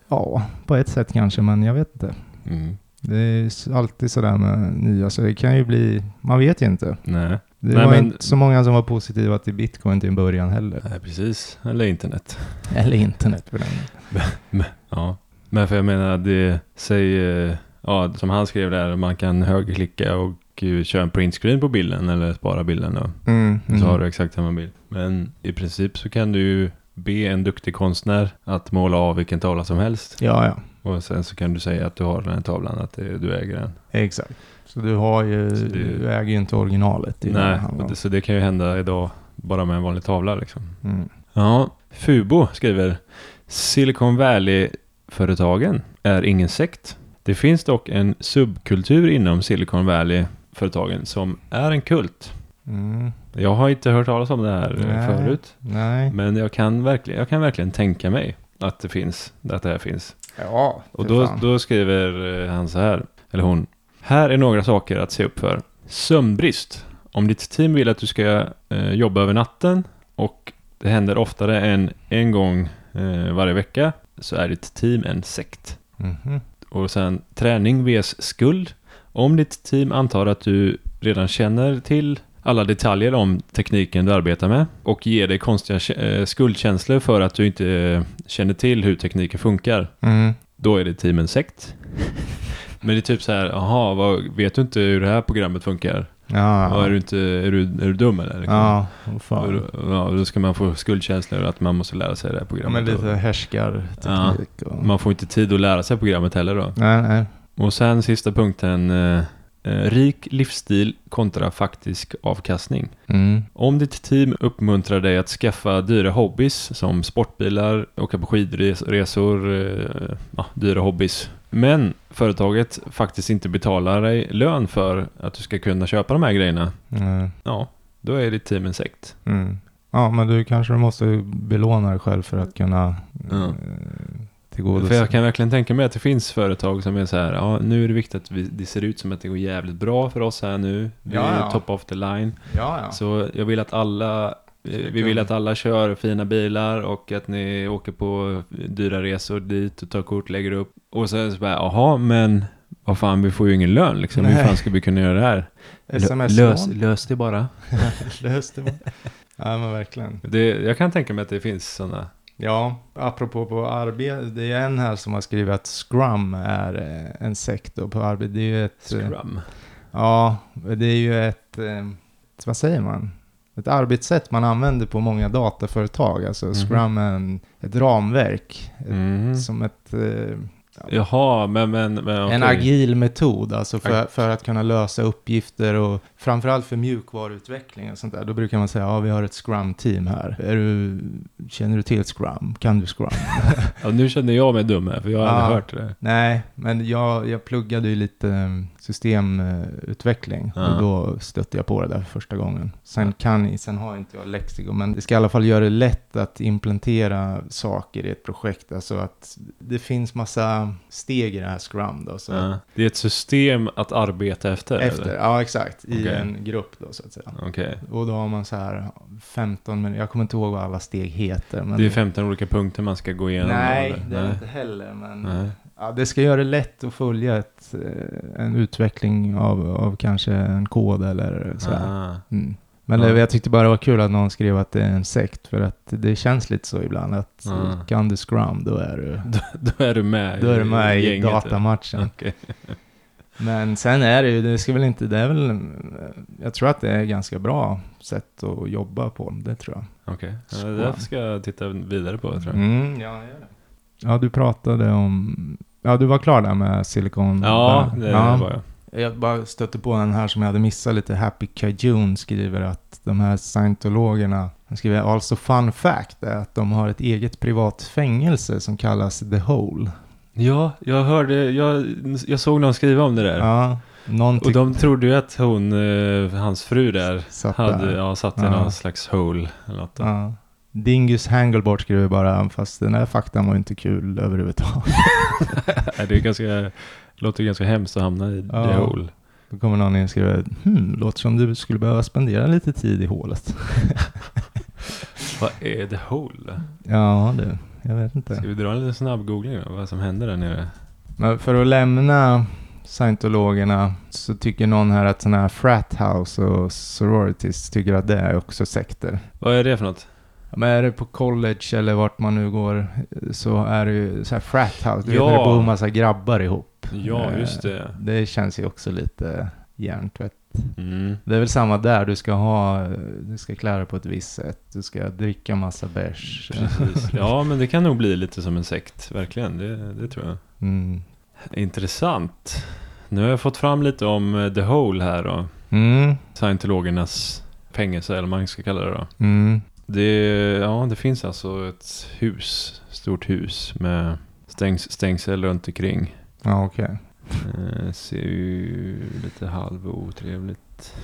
[SPEAKER 1] ja, på ett sätt kanske, men jag vet inte.
[SPEAKER 2] Mm.
[SPEAKER 1] Det är s- alltid sådär med nya, så det kan ju bli, man vet ju inte.
[SPEAKER 2] Nej.
[SPEAKER 1] Det
[SPEAKER 2] Nej,
[SPEAKER 1] var
[SPEAKER 2] men-
[SPEAKER 1] inte så många som var positiva till bitcoin till en början heller.
[SPEAKER 2] Nej, precis. Eller internet.
[SPEAKER 1] Eller internet för den
[SPEAKER 2] Ja, men för jag menar det säger, ja som han skrev där, man kan högerklicka och eh, köra en printscreen på bilden eller spara bilden då.
[SPEAKER 1] mm,
[SPEAKER 2] Så har du exakt samma bild. Men i princip så kan du ju be en duktig konstnär att måla av vilken tavla som helst.
[SPEAKER 1] Ja, ja.
[SPEAKER 2] Och sen så kan du säga att du har den här tavlan, att det, du äger den.
[SPEAKER 1] Exakt. Så du har ju,
[SPEAKER 2] Så det-
[SPEAKER 1] du äger ju inte originalet. Det är ju det
[SPEAKER 2] Nej,
[SPEAKER 1] det handlar
[SPEAKER 2] och
[SPEAKER 1] om.
[SPEAKER 2] det, så det kan ju hända idag bara med en vanlig tavla liksom.
[SPEAKER 1] Mm.
[SPEAKER 2] Ja, Fubo skriver Silicon Valley-företagen är ingen sekt. Det finns dock en subkultur inom Silicon Valley-företagen som är en kult.
[SPEAKER 1] Mm.
[SPEAKER 2] Jag har inte hört talas om det här eh,
[SPEAKER 1] Nej.
[SPEAKER 2] förut,
[SPEAKER 1] Nej.
[SPEAKER 2] men jag kan, verkligen, jag kan verkligen tänka mig att det finns, att det här finns.
[SPEAKER 1] Ja,
[SPEAKER 2] Och
[SPEAKER 1] för
[SPEAKER 2] då,
[SPEAKER 1] fan.
[SPEAKER 2] då skriver eh, han så här, eller hon. Här är några saker att se upp för. Sömnbrist. Om ditt team vill att du ska eh, jobba över natten och det händer oftare än en gång eh, varje vecka så är ditt team en sekt.
[SPEAKER 1] Mhm.
[SPEAKER 2] Och sen träning vs skuld. Om ditt team antar att du redan känner till alla detaljer om tekniken du arbetar med och ger dig konstiga eh, skuldkänslor för att du inte eh, känner till hur tekniken funkar
[SPEAKER 1] Mm.
[SPEAKER 2] då är det team en sekt. Men det är typ så här, jaha, vad- vet du inte hur det här programmet funkar?
[SPEAKER 1] Ja,
[SPEAKER 2] Vad, Är, du inte, är, du, är du dum eller?
[SPEAKER 1] ja. Åh, fan.
[SPEAKER 2] Och då- Ja, då ska man få skuldkänslor att man måste lära sig det här
[SPEAKER 1] Ja,
[SPEAKER 2] programmet.
[SPEAKER 1] men lite härskarteknik. Och...
[SPEAKER 2] Och Man får inte tid att lära sig programmet heller då.
[SPEAKER 1] Nej, nej.
[SPEAKER 2] Och sen sista punkten, eh, eh, rik livsstil kontra faktisk avkastning.
[SPEAKER 1] Mm.
[SPEAKER 2] Om ditt team uppmuntrar dig att skaffa dyra hobbys som sportbilar, åka på skidresor, eh, ja, dyra hobbys. Men företaget faktiskt inte betalar dig lön för att du ska kunna köpa de här grejerna.
[SPEAKER 1] Eh,
[SPEAKER 2] Ja, då är ditt team en sekt.
[SPEAKER 1] Mm. Ja, men du kanske måste belåna dig själv för att kunna
[SPEAKER 2] Ja.
[SPEAKER 1] eh,
[SPEAKER 2] För
[SPEAKER 1] tillgodose.
[SPEAKER 2] jag kan verkligen tänka mig att det finns företag som är så här, ja nu är det viktigt att vi, det ser ut som att det går jävligt bra för oss här nu. Vi
[SPEAKER 1] Ja,
[SPEAKER 2] är
[SPEAKER 1] ja.
[SPEAKER 2] top of the line.
[SPEAKER 1] Ja, ja.
[SPEAKER 2] Så jag vill att alla eh, vi vill att alla kör fina bilar och att ni åker på dyra resor dit och tar kort, lägger upp. Och sen så bara, jaha, men vad fan, vi får ju ingen lön liksom. Hur
[SPEAKER 1] Nej.
[SPEAKER 2] fan ska vi kunna göra det här? Lö- lös,
[SPEAKER 1] Sms-lån.
[SPEAKER 2] lös det bara.
[SPEAKER 1] Lös det bara. Ja, men verkligen.
[SPEAKER 2] Det, jag kan tänka mig att det finns sådana.
[SPEAKER 1] Ja, apropå på arbete, det är en här som har skrivit att Scrum är eh, en sekt då på arbete. Det är ju ett... eh,
[SPEAKER 2] Scrum.
[SPEAKER 1] Ja, det är ju ett, eh, vad säger man? Ett arbetssätt man använder på många dataföretag. Alltså
[SPEAKER 2] Mhm.
[SPEAKER 1] Scrum är en, ett ramverk. Ett,
[SPEAKER 2] Mm.
[SPEAKER 1] Som ett, eh,
[SPEAKER 2] Jaha, men... men, men
[SPEAKER 1] en
[SPEAKER 2] okej.
[SPEAKER 1] agil metod. Alltså för,
[SPEAKER 2] Ag-
[SPEAKER 1] för att kunna lösa uppgifter och framförallt för mjukvaruutveckling och sånt där. Då brukar man säga, ja vi har ett Scrum-team här. Är du, känner du till Scrum? Kan du Scrum?
[SPEAKER 2] Ja, nu känner jag mig dum här, för jag har
[SPEAKER 1] Ja.
[SPEAKER 2] aldrig hört det.
[SPEAKER 1] Nej, men jag, jag pluggade ju lite eh, systemutveckling
[SPEAKER 2] Ja.
[SPEAKER 1] och då stötte jag på det där för första gången. Sen, kan, sen har inte jag lexikon, men det ska i alla fall göra det lätt att implementera saker i ett projekt. Alltså att det finns massa steg i det här Scrum då. Så
[SPEAKER 2] Ja. Det är ett system att arbeta efter?
[SPEAKER 1] Efter,
[SPEAKER 2] eller?
[SPEAKER 1] ja exakt, i
[SPEAKER 2] Okej.
[SPEAKER 1] en grupp då så att säga.
[SPEAKER 2] Okej.
[SPEAKER 1] Och då har man så här 15 minuter, jag kommer inte ihåg vad alla steg heter. Men
[SPEAKER 2] Det är 15 olika punkter man ska gå igenom?
[SPEAKER 1] Nej,
[SPEAKER 2] eller?
[SPEAKER 1] det är det
[SPEAKER 2] Nej.
[SPEAKER 1] inte heller, men...
[SPEAKER 2] Nej.
[SPEAKER 1] Ja, det ska göra det lätt att följa ett, eh, en utveckling av, av kanske en kod eller sådär.
[SPEAKER 2] Ah.
[SPEAKER 1] Mm. Men
[SPEAKER 2] Ja.
[SPEAKER 1] det, jag tyckte bara det var kul att någon skrev att det är en sekt, för att det känns lite så ibland att
[SPEAKER 2] Ja.
[SPEAKER 1] kan du scrum, då är du,
[SPEAKER 2] Då, då är du med
[SPEAKER 1] då är du med i
[SPEAKER 2] gänget,
[SPEAKER 1] datamatchen.
[SPEAKER 2] Okej.
[SPEAKER 1] Men sen är det ju, det ska väl inte, det är väl, eh, jag tror att det är ganska bra sätt att jobba på, det tror jag.
[SPEAKER 2] Okej. Ja, det där ska jag titta vidare på tror jag.
[SPEAKER 1] Mm, ja, gör det. Ja, du pratade om, ja du var klar där med silikon.
[SPEAKER 2] Ja, det var jag.
[SPEAKER 1] Jag bara stötte på en här som jag hade missat lite. Happy Kajun skriver att de här scientologerna, han skriver also fun fact är att de har ett eget privat fängelse som kallas The Hole.
[SPEAKER 2] Ja, jag hörde, jag, jag såg någon skriva om det där.
[SPEAKER 1] Ja, någon
[SPEAKER 2] Och
[SPEAKER 1] tyckte
[SPEAKER 2] de trodde ju att hon, eh, hans fru där,
[SPEAKER 1] satt
[SPEAKER 2] hade
[SPEAKER 1] där.
[SPEAKER 2] ja, satt i
[SPEAKER 1] Ja.
[SPEAKER 2] någon slags hole eller något. då.
[SPEAKER 1] Ja. Dingus Hanglebart skriver bara, fast den här faktan var ju inte kul överhuvudtaget.
[SPEAKER 2] Nej, det är ganska, låter ganska hemskt att hamna i
[SPEAKER 1] Ja.
[SPEAKER 2] the hole.
[SPEAKER 1] Då kommer någon in och skriver, hmm, låter som du skulle behöva spendera lite tid i hålet.
[SPEAKER 2] Vad är the hole?
[SPEAKER 1] Ja, du, jag vet inte.
[SPEAKER 2] Ska vi dra en liten snabb googling då, vad som händer där nere?
[SPEAKER 1] Men för att lämna scientologerna så tycker någon här att sådana här frat house och sororities tycker att det är också sekter.
[SPEAKER 2] Vad är det för något?
[SPEAKER 1] Ja, Men är det på college eller vart man nu går så är det ju så här frat house. Du
[SPEAKER 2] Ja.
[SPEAKER 1] vet när det bor en massa grabbar ihop.
[SPEAKER 2] Ja,
[SPEAKER 1] Eh,
[SPEAKER 2] just det.
[SPEAKER 1] Det känns ju också lite hjärntvätt.
[SPEAKER 2] Mm.
[SPEAKER 1] Det är väl samma där, du ska ha, du ska klä dig på ett visst sätt, du ska dricka massa bärs.
[SPEAKER 2] Precis. Ja, men det kan nog bli lite som en sekt, verkligen. Det, det tror jag.
[SPEAKER 1] Mm.
[SPEAKER 2] Intressant. Nu har jag fått fram lite om eh, The Hole här då.
[SPEAKER 1] Mm.
[SPEAKER 2] Scientologernas fängelse, eller vad man ska kalla det då.
[SPEAKER 1] Mm.
[SPEAKER 2] Det, ja, det finns alltså ett hus, stort hus med stängs, stängsel runt omkring.
[SPEAKER 1] Ja, okej.
[SPEAKER 2] Eh, ser ju lite halv och otrevligt.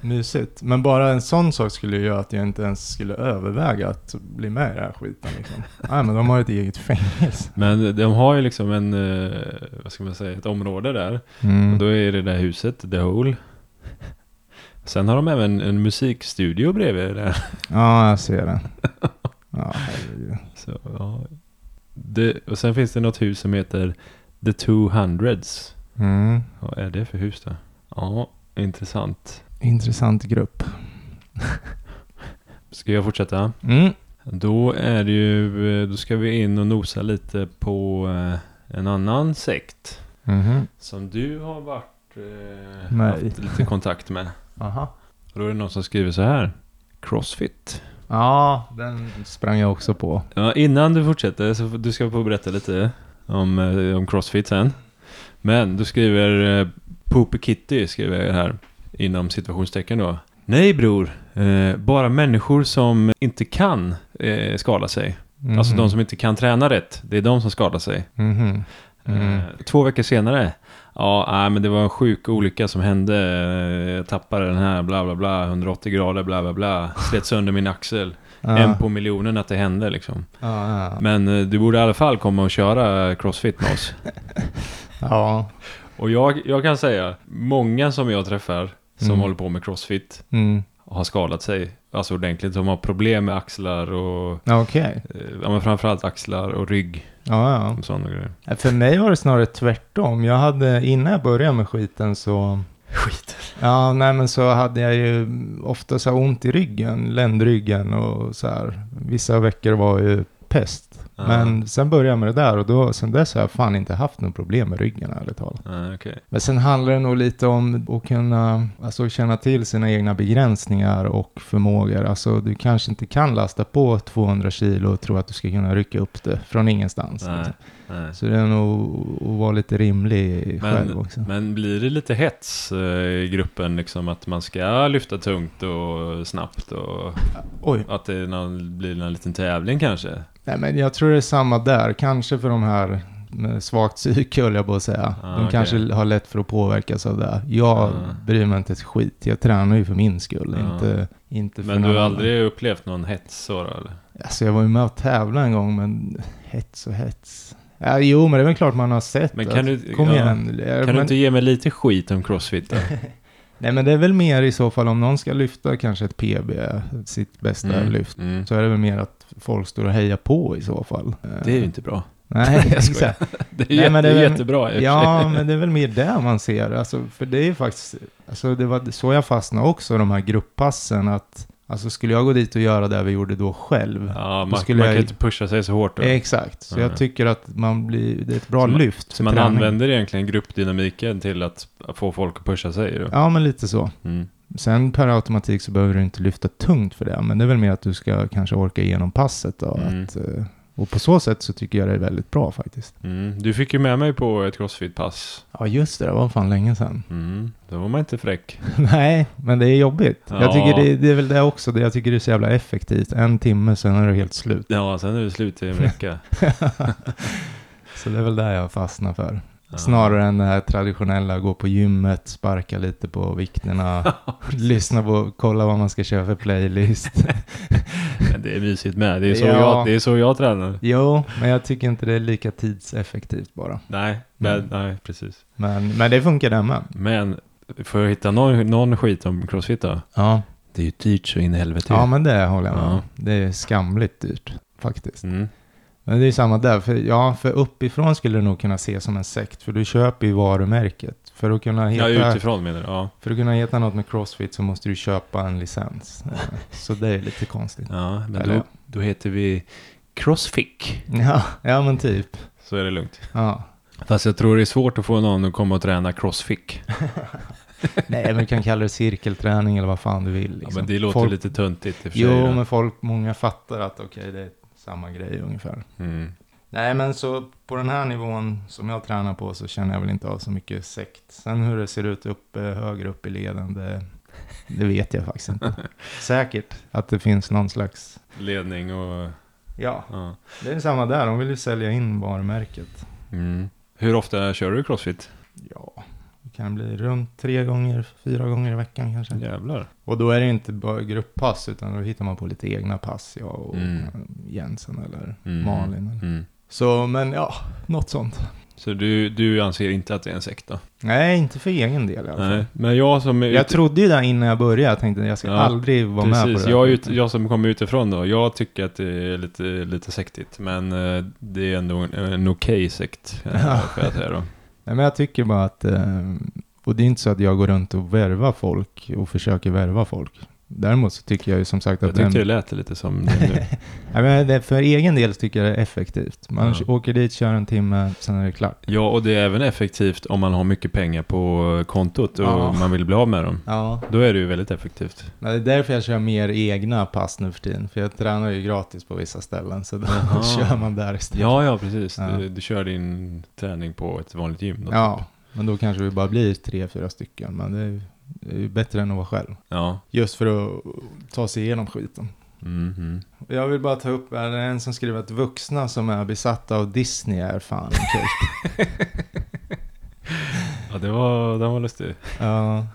[SPEAKER 1] Mysigt. Men bara en sån sak skulle ju göra att jag inte ens skulle överväga att bli med i den här skiten. Liksom. Nej, men de har ju ett eget fängelse.
[SPEAKER 2] Men de har ju liksom en, eh, vad ska man säga, ett område där. Och
[SPEAKER 1] Mm.
[SPEAKER 2] då är det där huset, The Hole. Sen har de även en musikstudio bredvid där.
[SPEAKER 1] Ja, jag ser det. Ja, herregud.
[SPEAKER 2] Så, ja. det, och sen finns det något hus som heter The 200s.
[SPEAKER 1] mm.
[SPEAKER 2] Vad är det för hus då? Ja, intressant.
[SPEAKER 1] Intressant grupp.
[SPEAKER 2] Ska jag fortsätta?
[SPEAKER 1] Mm.
[SPEAKER 2] Då är det ju, eh, då ska vi in och nosa lite på eh, en annan sekt.
[SPEAKER 1] Mhm.
[SPEAKER 2] Som du har varit, eh,
[SPEAKER 1] Nej.
[SPEAKER 2] haft lite kontakt med.
[SPEAKER 1] Aha.
[SPEAKER 2] Och då är det någon som skriver så här. Crossfit.
[SPEAKER 1] Ja, den sprang jag också på.
[SPEAKER 2] Ja, innan du fortsätter så får- du ska få berätta lite om, eh, om Crossfit sen. Men du skriver eh, Poopy Kitty skriver jag här, inom situationstecken då. Nej bror, eh, bara människor som inte kan eh, skada sig.
[SPEAKER 1] Mhm.
[SPEAKER 2] Alltså de som inte kan träna rätt, det är de som skadar sig.
[SPEAKER 1] Mhm. Mm.
[SPEAKER 2] Eh, två veckor senare, ja, nej, men det var en sjuk olycka som hände. Eh, Jag tappade den här, bla bla bla, 180 grader, bla bla bla. Slet sönder min axel.
[SPEAKER 1] Ja.
[SPEAKER 2] Eh, En på miljonen att det hände liksom.
[SPEAKER 1] Ja, ja.
[SPEAKER 2] Men eh, du borde i alla fall komma och köra crossfit med oss.
[SPEAKER 1] ja.
[SPEAKER 2] Och jag, jag kan säga, många som jag träffar som
[SPEAKER 1] Mm.
[SPEAKER 2] håller på med crossfit
[SPEAKER 1] Mm.
[SPEAKER 2] har skadat sig. Alltså ordentligt, som har problem med axlar och
[SPEAKER 1] Ja, Okej.
[SPEAKER 2] eh, ja, men framförallt axlar och rygg
[SPEAKER 1] Ja, ja.
[SPEAKER 2] och sådana grejer.
[SPEAKER 1] Nej, För mig var det snarare tvärtom. Jag hade, innan jag började med skiten så...
[SPEAKER 2] Skit.
[SPEAKER 1] Ja, nej men så hade jag ju ofta så här ont i ryggen, ländryggen och så här. Vissa veckor var ju pest. Men sen började jag med det där och då, sen dess har jag fan inte haft något problem med ryggen ärligt talat.
[SPEAKER 2] Ja, Ah, okej.
[SPEAKER 1] Men sen handlar det nog lite om att kunna, alltså känna till sina egna begränsningar och förmågor. Alltså du kanske inte kan lasta på 200 kilo och tro att du ska kunna rycka upp det från ingenstans.
[SPEAKER 2] Nej,
[SPEAKER 1] liksom.
[SPEAKER 2] nej.
[SPEAKER 1] Så det är nog att vara lite rimlig
[SPEAKER 2] Men-
[SPEAKER 1] själv också.
[SPEAKER 2] Men blir det lite hets eh, i gruppen liksom att man ska lyfta tungt och snabbt och
[SPEAKER 1] Oj,
[SPEAKER 2] att det är någon, blir en liten tävling kanske?
[SPEAKER 1] nej men jag tror det är samma där. Kanske för de här med svagt psyke höll jag på att säga.
[SPEAKER 2] Ah,
[SPEAKER 1] de
[SPEAKER 2] okej.
[SPEAKER 1] kanske har lätt för att påverkas av det. Jag
[SPEAKER 2] Ah.
[SPEAKER 1] bryr mig inte ett skit. Jag tränar ju för min skull,
[SPEAKER 2] Ja.
[SPEAKER 1] inte, inte för
[SPEAKER 2] Men du
[SPEAKER 1] någon
[SPEAKER 2] har
[SPEAKER 1] annan.
[SPEAKER 2] aldrig upplevt någon hets så då, eller?
[SPEAKER 1] Alltså jag var ju med och tävlade en gång, men hets och hets. Ja, jo, men det är väl klart man har sett.
[SPEAKER 2] Men
[SPEAKER 1] att-
[SPEAKER 2] kan du-
[SPEAKER 1] Kom
[SPEAKER 2] ja.
[SPEAKER 1] igen.
[SPEAKER 2] Kan
[SPEAKER 1] men,
[SPEAKER 2] du inte ge mig lite skit om crossfit då?
[SPEAKER 1] Nej, men det är väl mer i så fall om någon ska lyfta kanske ett PB, sitt bästa
[SPEAKER 2] Mm,
[SPEAKER 1] lyft.
[SPEAKER 2] mm.
[SPEAKER 1] Så är det väl mer att folk står och hejar på i så fall.
[SPEAKER 2] Det är ju
[SPEAKER 1] Eh,
[SPEAKER 2] inte bra.
[SPEAKER 1] Nej,
[SPEAKER 2] Jag skojar.
[SPEAKER 1] exakt.
[SPEAKER 2] Det är,
[SPEAKER 1] Nej,
[SPEAKER 2] jätte,
[SPEAKER 1] men det är väl-
[SPEAKER 2] jättebra i och för
[SPEAKER 1] Ja,
[SPEAKER 2] sig.
[SPEAKER 1] men det är väl mer det man ser. Alltså, för det är ju faktiskt, alltså det var så jag fastnade också, de här grupppassen, att alltså skulle jag gå dit och göra det vi gjorde då själv.
[SPEAKER 2] Ja,
[SPEAKER 1] Då
[SPEAKER 2] man,
[SPEAKER 1] skulle
[SPEAKER 2] man
[SPEAKER 1] jag-
[SPEAKER 2] kan inte pusha sig så hårt då.
[SPEAKER 1] Exakt, så jag
[SPEAKER 2] Mm.
[SPEAKER 1] tycker att man blir, det är ett bra
[SPEAKER 2] Så man-
[SPEAKER 1] lyft.
[SPEAKER 2] Så
[SPEAKER 1] för
[SPEAKER 2] man
[SPEAKER 1] träning.
[SPEAKER 2] använder egentligen gruppdynamiken till att få folk att pusha sig då.
[SPEAKER 1] Ja, men lite så.
[SPEAKER 2] Mm.
[SPEAKER 1] Sen per automatik så behöver du inte lyfta tungt för det, men det är väl mer att du ska kanske orka igenom passet. Då,
[SPEAKER 2] Mm.
[SPEAKER 1] att, eh, och på så sätt så tycker jag det är väldigt bra faktiskt.
[SPEAKER 2] Mm. Du fick ju med mig på ett crossfit-pass.
[SPEAKER 1] Ja, just det, det var fan länge sedan.
[SPEAKER 2] Mm. Då var man inte fräck.
[SPEAKER 1] Nej, men det är jobbigt. Jag
[SPEAKER 2] Ja.
[SPEAKER 1] tycker det, det är väl det också. Det jag tycker det är så jävla effektivt. En timme, sen är det helt slut.
[SPEAKER 2] Ja, sen är det slut i en vecka.
[SPEAKER 1] så det är väl det jag fastnar för.
[SPEAKER 2] Ja.
[SPEAKER 1] Snarare än det här traditionella, gå på gymmet, sparka lite på vikterna, lyssna på, kolla vad man ska köra för playlist.
[SPEAKER 2] Men det är mysigt med. Det är så,
[SPEAKER 1] Ja.
[SPEAKER 2] jag, det är så jag tränar.
[SPEAKER 1] jo, men jag tycker inte det är lika tidseffektivt bara.
[SPEAKER 2] Nej, men,
[SPEAKER 1] Mm.
[SPEAKER 2] nej, precis.
[SPEAKER 1] Men, men det funkar det med.
[SPEAKER 2] Men får jag hitta någon, någon skit om crossfit då?
[SPEAKER 1] Ja.
[SPEAKER 2] Det är ju dyrt så in i helvete.
[SPEAKER 1] ja, men det håller jag med om.
[SPEAKER 2] typ. Ja.
[SPEAKER 1] Det är skamligt dyrt faktiskt.
[SPEAKER 2] mm.
[SPEAKER 1] Men det är ju samma där, för, ja, för uppifrån skulle det nog kunna ses som en sekt, för du köper ju varumärket. För att kunna
[SPEAKER 2] ja
[SPEAKER 1] heta,
[SPEAKER 2] utifrån menar du? Ja.
[SPEAKER 1] för att kunna heta något med Crossfit så måste du köpa en licens. Eh, så det är lite konstigt.
[SPEAKER 2] ja, men
[SPEAKER 1] Eller-
[SPEAKER 2] då, då heter vi Crossfic.
[SPEAKER 1] Ja, ja men typ.
[SPEAKER 2] Så är det lugnt.
[SPEAKER 1] Ja.
[SPEAKER 2] Fast jag tror det är svårt att få någon att komma och träna Crossfic.
[SPEAKER 1] Nej, men du kan kalla det cirkelträning eller vad fan du vill.
[SPEAKER 2] Ja,
[SPEAKER 1] Liksom.
[SPEAKER 2] men det låter
[SPEAKER 1] folk,
[SPEAKER 2] lite töntigt i och för sig.
[SPEAKER 1] Jo,
[SPEAKER 2] då.
[SPEAKER 1] men folk, många fattar att okej, det är samma grej ungefär.
[SPEAKER 2] Mm.
[SPEAKER 1] Nej, men så på den här nivån som jag tränar på så känner jag väl inte av så mycket sekt. Sen hur det ser ut uppe, högre upp i leden, det, det vet jag faktiskt inte. Säkert att det finns någon slags...
[SPEAKER 2] Ledning och...
[SPEAKER 1] Ja,
[SPEAKER 2] Ja.
[SPEAKER 1] det är samma där. De vill ju sälja in varumärket.
[SPEAKER 2] Mm. Hur ofta kör du Crossfit?
[SPEAKER 1] Ja, det kan bli runt tre gånger, fyra gånger i veckan kanske.
[SPEAKER 2] Jävlar.
[SPEAKER 1] Och då är det inte bara grupppass, utan då hittar man på lite egna pass. Jag och
[SPEAKER 2] Mm.
[SPEAKER 1] Jensen eller
[SPEAKER 2] Mm.
[SPEAKER 1] Malin. Eller.
[SPEAKER 2] Mm.
[SPEAKER 1] Så, men ja, något sånt.
[SPEAKER 2] Så du, du anser inte att det är en sekt då?
[SPEAKER 1] Nej, inte för egen del i alla fall.
[SPEAKER 2] Nej, men jag som är
[SPEAKER 1] Jag trodde ju det innan jag började. Jag tänkte jag ska
[SPEAKER 2] Ja,
[SPEAKER 1] aldrig vara med på
[SPEAKER 2] precis,
[SPEAKER 1] det.
[SPEAKER 2] jag, är ut, jag som kommer utifrån då, jag tycker att det är lite, lite sektigt. Men eh, det är ändå en, en okej sekt, eh, får jag säga då.
[SPEAKER 1] Nej, men jag tycker bara att... eh, Och det är inte så att jag går runt och värvar folk och försöker värva folk. Däremot så tycker jag ju som sagt
[SPEAKER 2] Jag
[SPEAKER 1] att...
[SPEAKER 2] tyckte det
[SPEAKER 1] den,
[SPEAKER 2] lät lite som det nu.
[SPEAKER 1] Nej, men det, för egen del så tycker jag det är effektivt. Man
[SPEAKER 2] Ja.
[SPEAKER 1] åker dit, kör en timme, sen är det klart.
[SPEAKER 2] Ja, och det är även effektivt om man har mycket pengar på kontot och
[SPEAKER 1] Ja.
[SPEAKER 2] man vill bli av med dem.
[SPEAKER 1] Ja,
[SPEAKER 2] Då är det ju väldigt effektivt.
[SPEAKER 1] men det är därför jag kör mer egna pass nu för tiden. För jag tränar ju gratis på vissa ställen, så då
[SPEAKER 2] Jaha.
[SPEAKER 1] kör man där istället.
[SPEAKER 2] Ja, ja, precis.
[SPEAKER 1] Ja.
[SPEAKER 2] Du, du kör din träning på ett vanligt gym. då,
[SPEAKER 1] Ja,
[SPEAKER 2] typ.
[SPEAKER 1] Men då kanske vi bara blir tre, fyra stycken. Men det är ju- det är ju bättre än att vara själv.
[SPEAKER 2] Ja.
[SPEAKER 1] Just för att ta sig igenom skiten.
[SPEAKER 2] Mhm.
[SPEAKER 1] Jag vill bara ta upp, här, det är en som skriver att vuxna som är besatta av Disney är fan kul.
[SPEAKER 2] Ja, det var, den var lustig.
[SPEAKER 1] ja,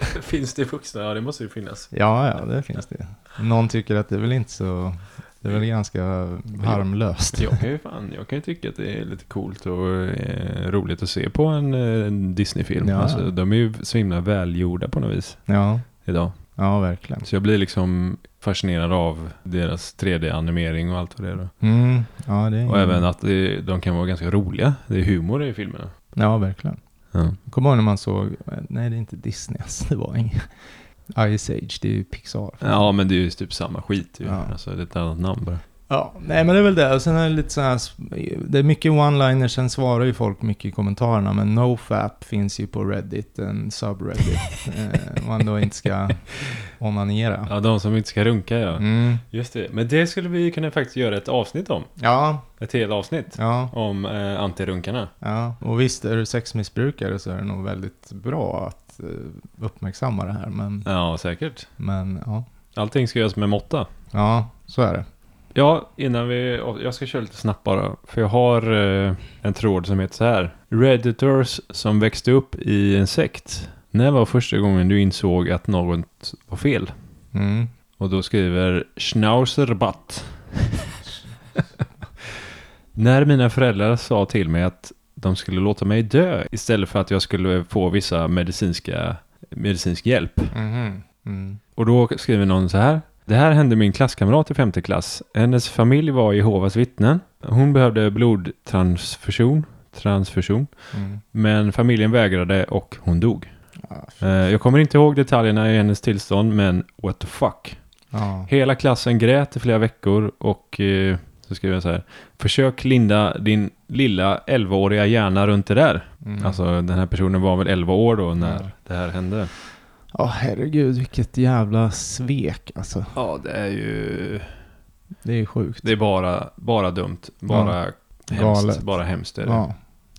[SPEAKER 2] Finns det vuxna? Ja, det måste ju finnas.
[SPEAKER 1] ja, ja, det finns det. Någon tycker att det är väl inte så, det är väl ganska harmlöst.
[SPEAKER 2] Jag kan ju fan, jag kan ju tycka att det är lite coolt och eh, roligt att se på en, eh, en Disney-film.
[SPEAKER 1] Ja.
[SPEAKER 2] Alltså, de är ju så himla välgjorda på något vis
[SPEAKER 1] Ja,
[SPEAKER 2] idag.
[SPEAKER 1] ja verkligen.
[SPEAKER 2] Så jag blir liksom fascinerad av deras 3D-animering och allt vad det är. då.
[SPEAKER 1] Mm, ja, det är
[SPEAKER 2] Och även att det, de kan vara ganska roliga. Det är humor i filmerna.
[SPEAKER 1] Ja, verkligen.
[SPEAKER 2] Ja.
[SPEAKER 1] Kommer ihåg när man såg, nej det är inte Disney alltså, det var inget. Ice Age, det är ju Pixar.
[SPEAKER 2] ja, men det är ju typ samma skit ju.
[SPEAKER 1] Ja.
[SPEAKER 2] Alltså, det är ett annat namn bara.
[SPEAKER 1] Ja, nej men det är väl det. Och sen är det lite så här, det är mycket one-liners, sen svarar ju folk mycket i kommentarerna. Men nofap finns ju på Reddit, en subreddit, eh, man då inte ska onanera.
[SPEAKER 2] Ja, de som inte ska runka ja.
[SPEAKER 1] Mm.
[SPEAKER 2] Just det. Men det skulle vi kunna faktiskt göra ett avsnitt om.
[SPEAKER 1] Ja,
[SPEAKER 2] Ett helt avsnitt.
[SPEAKER 1] ja,
[SPEAKER 2] Om eh, antirunkarna.
[SPEAKER 1] ja. Och visst, är du sexmissbrukare så är det nog väldigt bra att eh, uppmärksamma det här. Men,
[SPEAKER 2] Ja, säkert.
[SPEAKER 1] men ja.
[SPEAKER 2] Allting ska göras med måtta.
[SPEAKER 1] ja, så är det.
[SPEAKER 2] Ja, innan vi... Jag ska köra lite snabbt bara. För jag har eh, en tråd som heter så här. Redditors som växte upp i en sekt. När var första gången du insåg att något var fel?
[SPEAKER 1] Mm.
[SPEAKER 2] Och då skriver Schnauzerbatt. När mina föräldrar sa till mig att de skulle låta mig dö istället för att jag skulle få vissa medicinska, medicinsk hjälp.
[SPEAKER 1] Mhm. Mm.
[SPEAKER 2] Och då skriver någon så här. Det här hände min klasskamrat i femte klass. Hennes familj var Jehovas vittnen. Hon behövde blodtransfusion. Transfusion.
[SPEAKER 1] Mm.
[SPEAKER 2] Men familjen vägrade och hon dog.
[SPEAKER 1] Ja, f-
[SPEAKER 2] Eh, Jag kommer inte ihåg detaljerna i hennes tillstånd, men what the fuck.
[SPEAKER 1] ja.
[SPEAKER 2] Hela klassen grät i flera veckor och eh, så skriver jag så här. Försök linda din lilla 11-åriga hjärna runt det där.
[SPEAKER 1] Mm.
[SPEAKER 2] Alltså den här personen var väl 11 år då när
[SPEAKER 1] Ja.
[SPEAKER 2] det här hände.
[SPEAKER 1] Ja, herregud vilket jävla svek alltså.
[SPEAKER 2] Ja, det är ju...
[SPEAKER 1] Det är sjukt.
[SPEAKER 2] Det är bara, bara dumt. Bara hemskt.
[SPEAKER 1] Galet.
[SPEAKER 2] Bara hemskt är det.
[SPEAKER 1] Ja,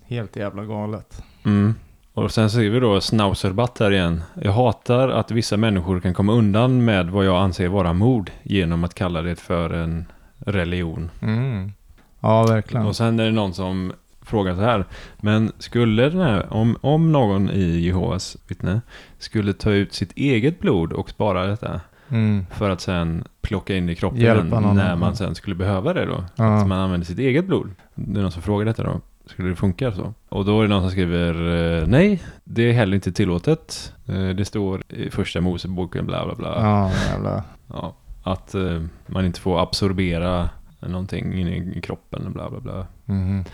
[SPEAKER 1] helt jävla galet.
[SPEAKER 2] Mm. Och sen ser vi då Schnauzerbatt här igen. Jag hatar att vissa människor kan komma undan med vad jag anser vara mord genom att kalla det för en religion.
[SPEAKER 1] Mm. Ja, verkligen.
[SPEAKER 2] Och sen är det någon som frågar så här. Men skulle den här, om, om någon i Jehovas vittne skulle ta ut sitt eget blod och spara detta
[SPEAKER 1] Mm.
[SPEAKER 2] för att sen plocka in det i kroppen
[SPEAKER 1] Hjälpa någon
[SPEAKER 2] när
[SPEAKER 1] annan.
[SPEAKER 2] man sen skulle behöva det då. Att
[SPEAKER 1] Ja.
[SPEAKER 2] man använder sitt eget blod. Det är någon som frågar detta då. Skulle det funka så? Och då är det någon som skriver eh, nej, det är heller inte tillåtet. Eh, Det står i första Moseboken bla bla bla.
[SPEAKER 1] ja, jävla.
[SPEAKER 2] Ja, att eh, man inte får absorbera någonting in i kroppen bla bla bla.
[SPEAKER 1] Mhm.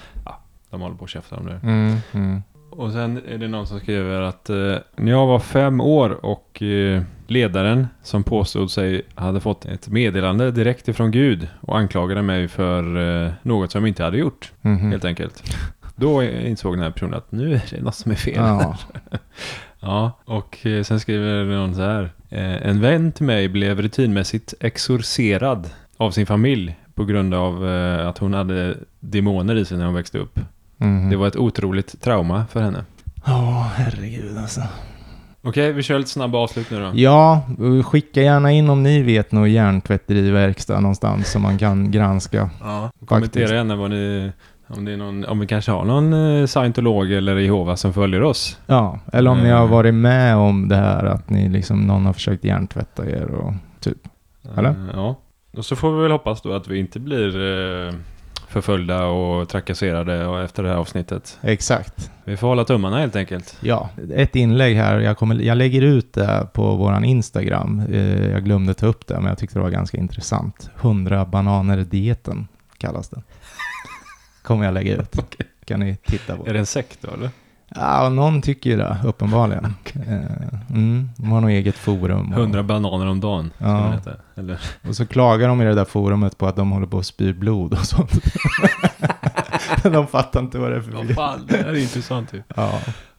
[SPEAKER 2] De håller på och käftar om det.
[SPEAKER 1] Mm. Mm.
[SPEAKER 2] Och sen är det någon som skriver att eh, när jag var fem år och eh, ledaren som påstod sig hade fått ett meddelande direkt ifrån Gud och anklagade mig för eh, något som jag inte hade gjort.
[SPEAKER 1] Mhm.
[SPEAKER 2] Helt enkelt. Mm. Då insåg den här personen att nu är det något som är fel. Ja,
[SPEAKER 1] Ja.
[SPEAKER 2] och eh, sen skriver någon så här. Eh, En vän till mig blev rutinmässigt exorcerad av sin familj på grund av eh, att hon hade demoner i sig när hon växte upp.
[SPEAKER 1] Mhm.
[SPEAKER 2] Det var ett otroligt trauma för henne.
[SPEAKER 1] Ja, herregud alltså.
[SPEAKER 2] Okej, vi kör lite snabba avslut nu då.
[SPEAKER 1] Ja, skicka gärna in om ni vet någon hjärntvätteriverkstad någonstans som man kan granska.
[SPEAKER 2] Ja, kommentera gärna vad ni, om, det är någon, om vi kanske har någon eh, scientolog eller Jehova som följer oss.
[SPEAKER 1] Ja, eller om ni
[SPEAKER 2] Mm.
[SPEAKER 1] har varit med om det här att ni liksom någon har försökt hjärntvätta er och typ. Eller?
[SPEAKER 2] Eh, Ja. Och så får vi väl hoppas då att vi inte blir eh, förföljda och trakasserade och efter det här avsnittet.
[SPEAKER 1] Exakt.
[SPEAKER 2] Vi får hålla tummarna helt enkelt.
[SPEAKER 1] Ja, ett inlägg här. Jag, kommer, jag lägger ut det här på våran Instagram. Eh, Jag glömde ta upp det, men jag tyckte det var ganska intressant. 100 bananer-dieten kallas den. Kommer jag lägga ut. Kan ni titta på.
[SPEAKER 2] Är det en sekt då eller?
[SPEAKER 1] Ja, någon tycker ju det, uppenbarligen. Eh, Mm, de har nog eget forum. och-
[SPEAKER 2] 100 bananer om dagen. ska
[SPEAKER 1] Ja.
[SPEAKER 2] man äta, Eller?
[SPEAKER 1] Och så klagar de i det där forumet på att de håller på att spy blod och sånt. Men de fattar inte vad det är för
[SPEAKER 2] Vad
[SPEAKER 1] video.
[SPEAKER 2] fan, det här är intressant ju.
[SPEAKER 1] Ja,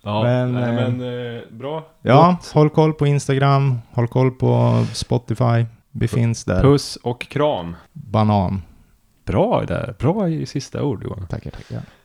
[SPEAKER 2] Ja, men,
[SPEAKER 1] Men,
[SPEAKER 2] nej,
[SPEAKER 1] eh,
[SPEAKER 2] men eh, bra.
[SPEAKER 1] ja håll koll på Instagram, håll koll på Spotify. Vi finns där.
[SPEAKER 2] Puss och kram.
[SPEAKER 1] Banan.
[SPEAKER 2] Bra där. Bra i sista ord Johan.
[SPEAKER 1] Tackar, tackar.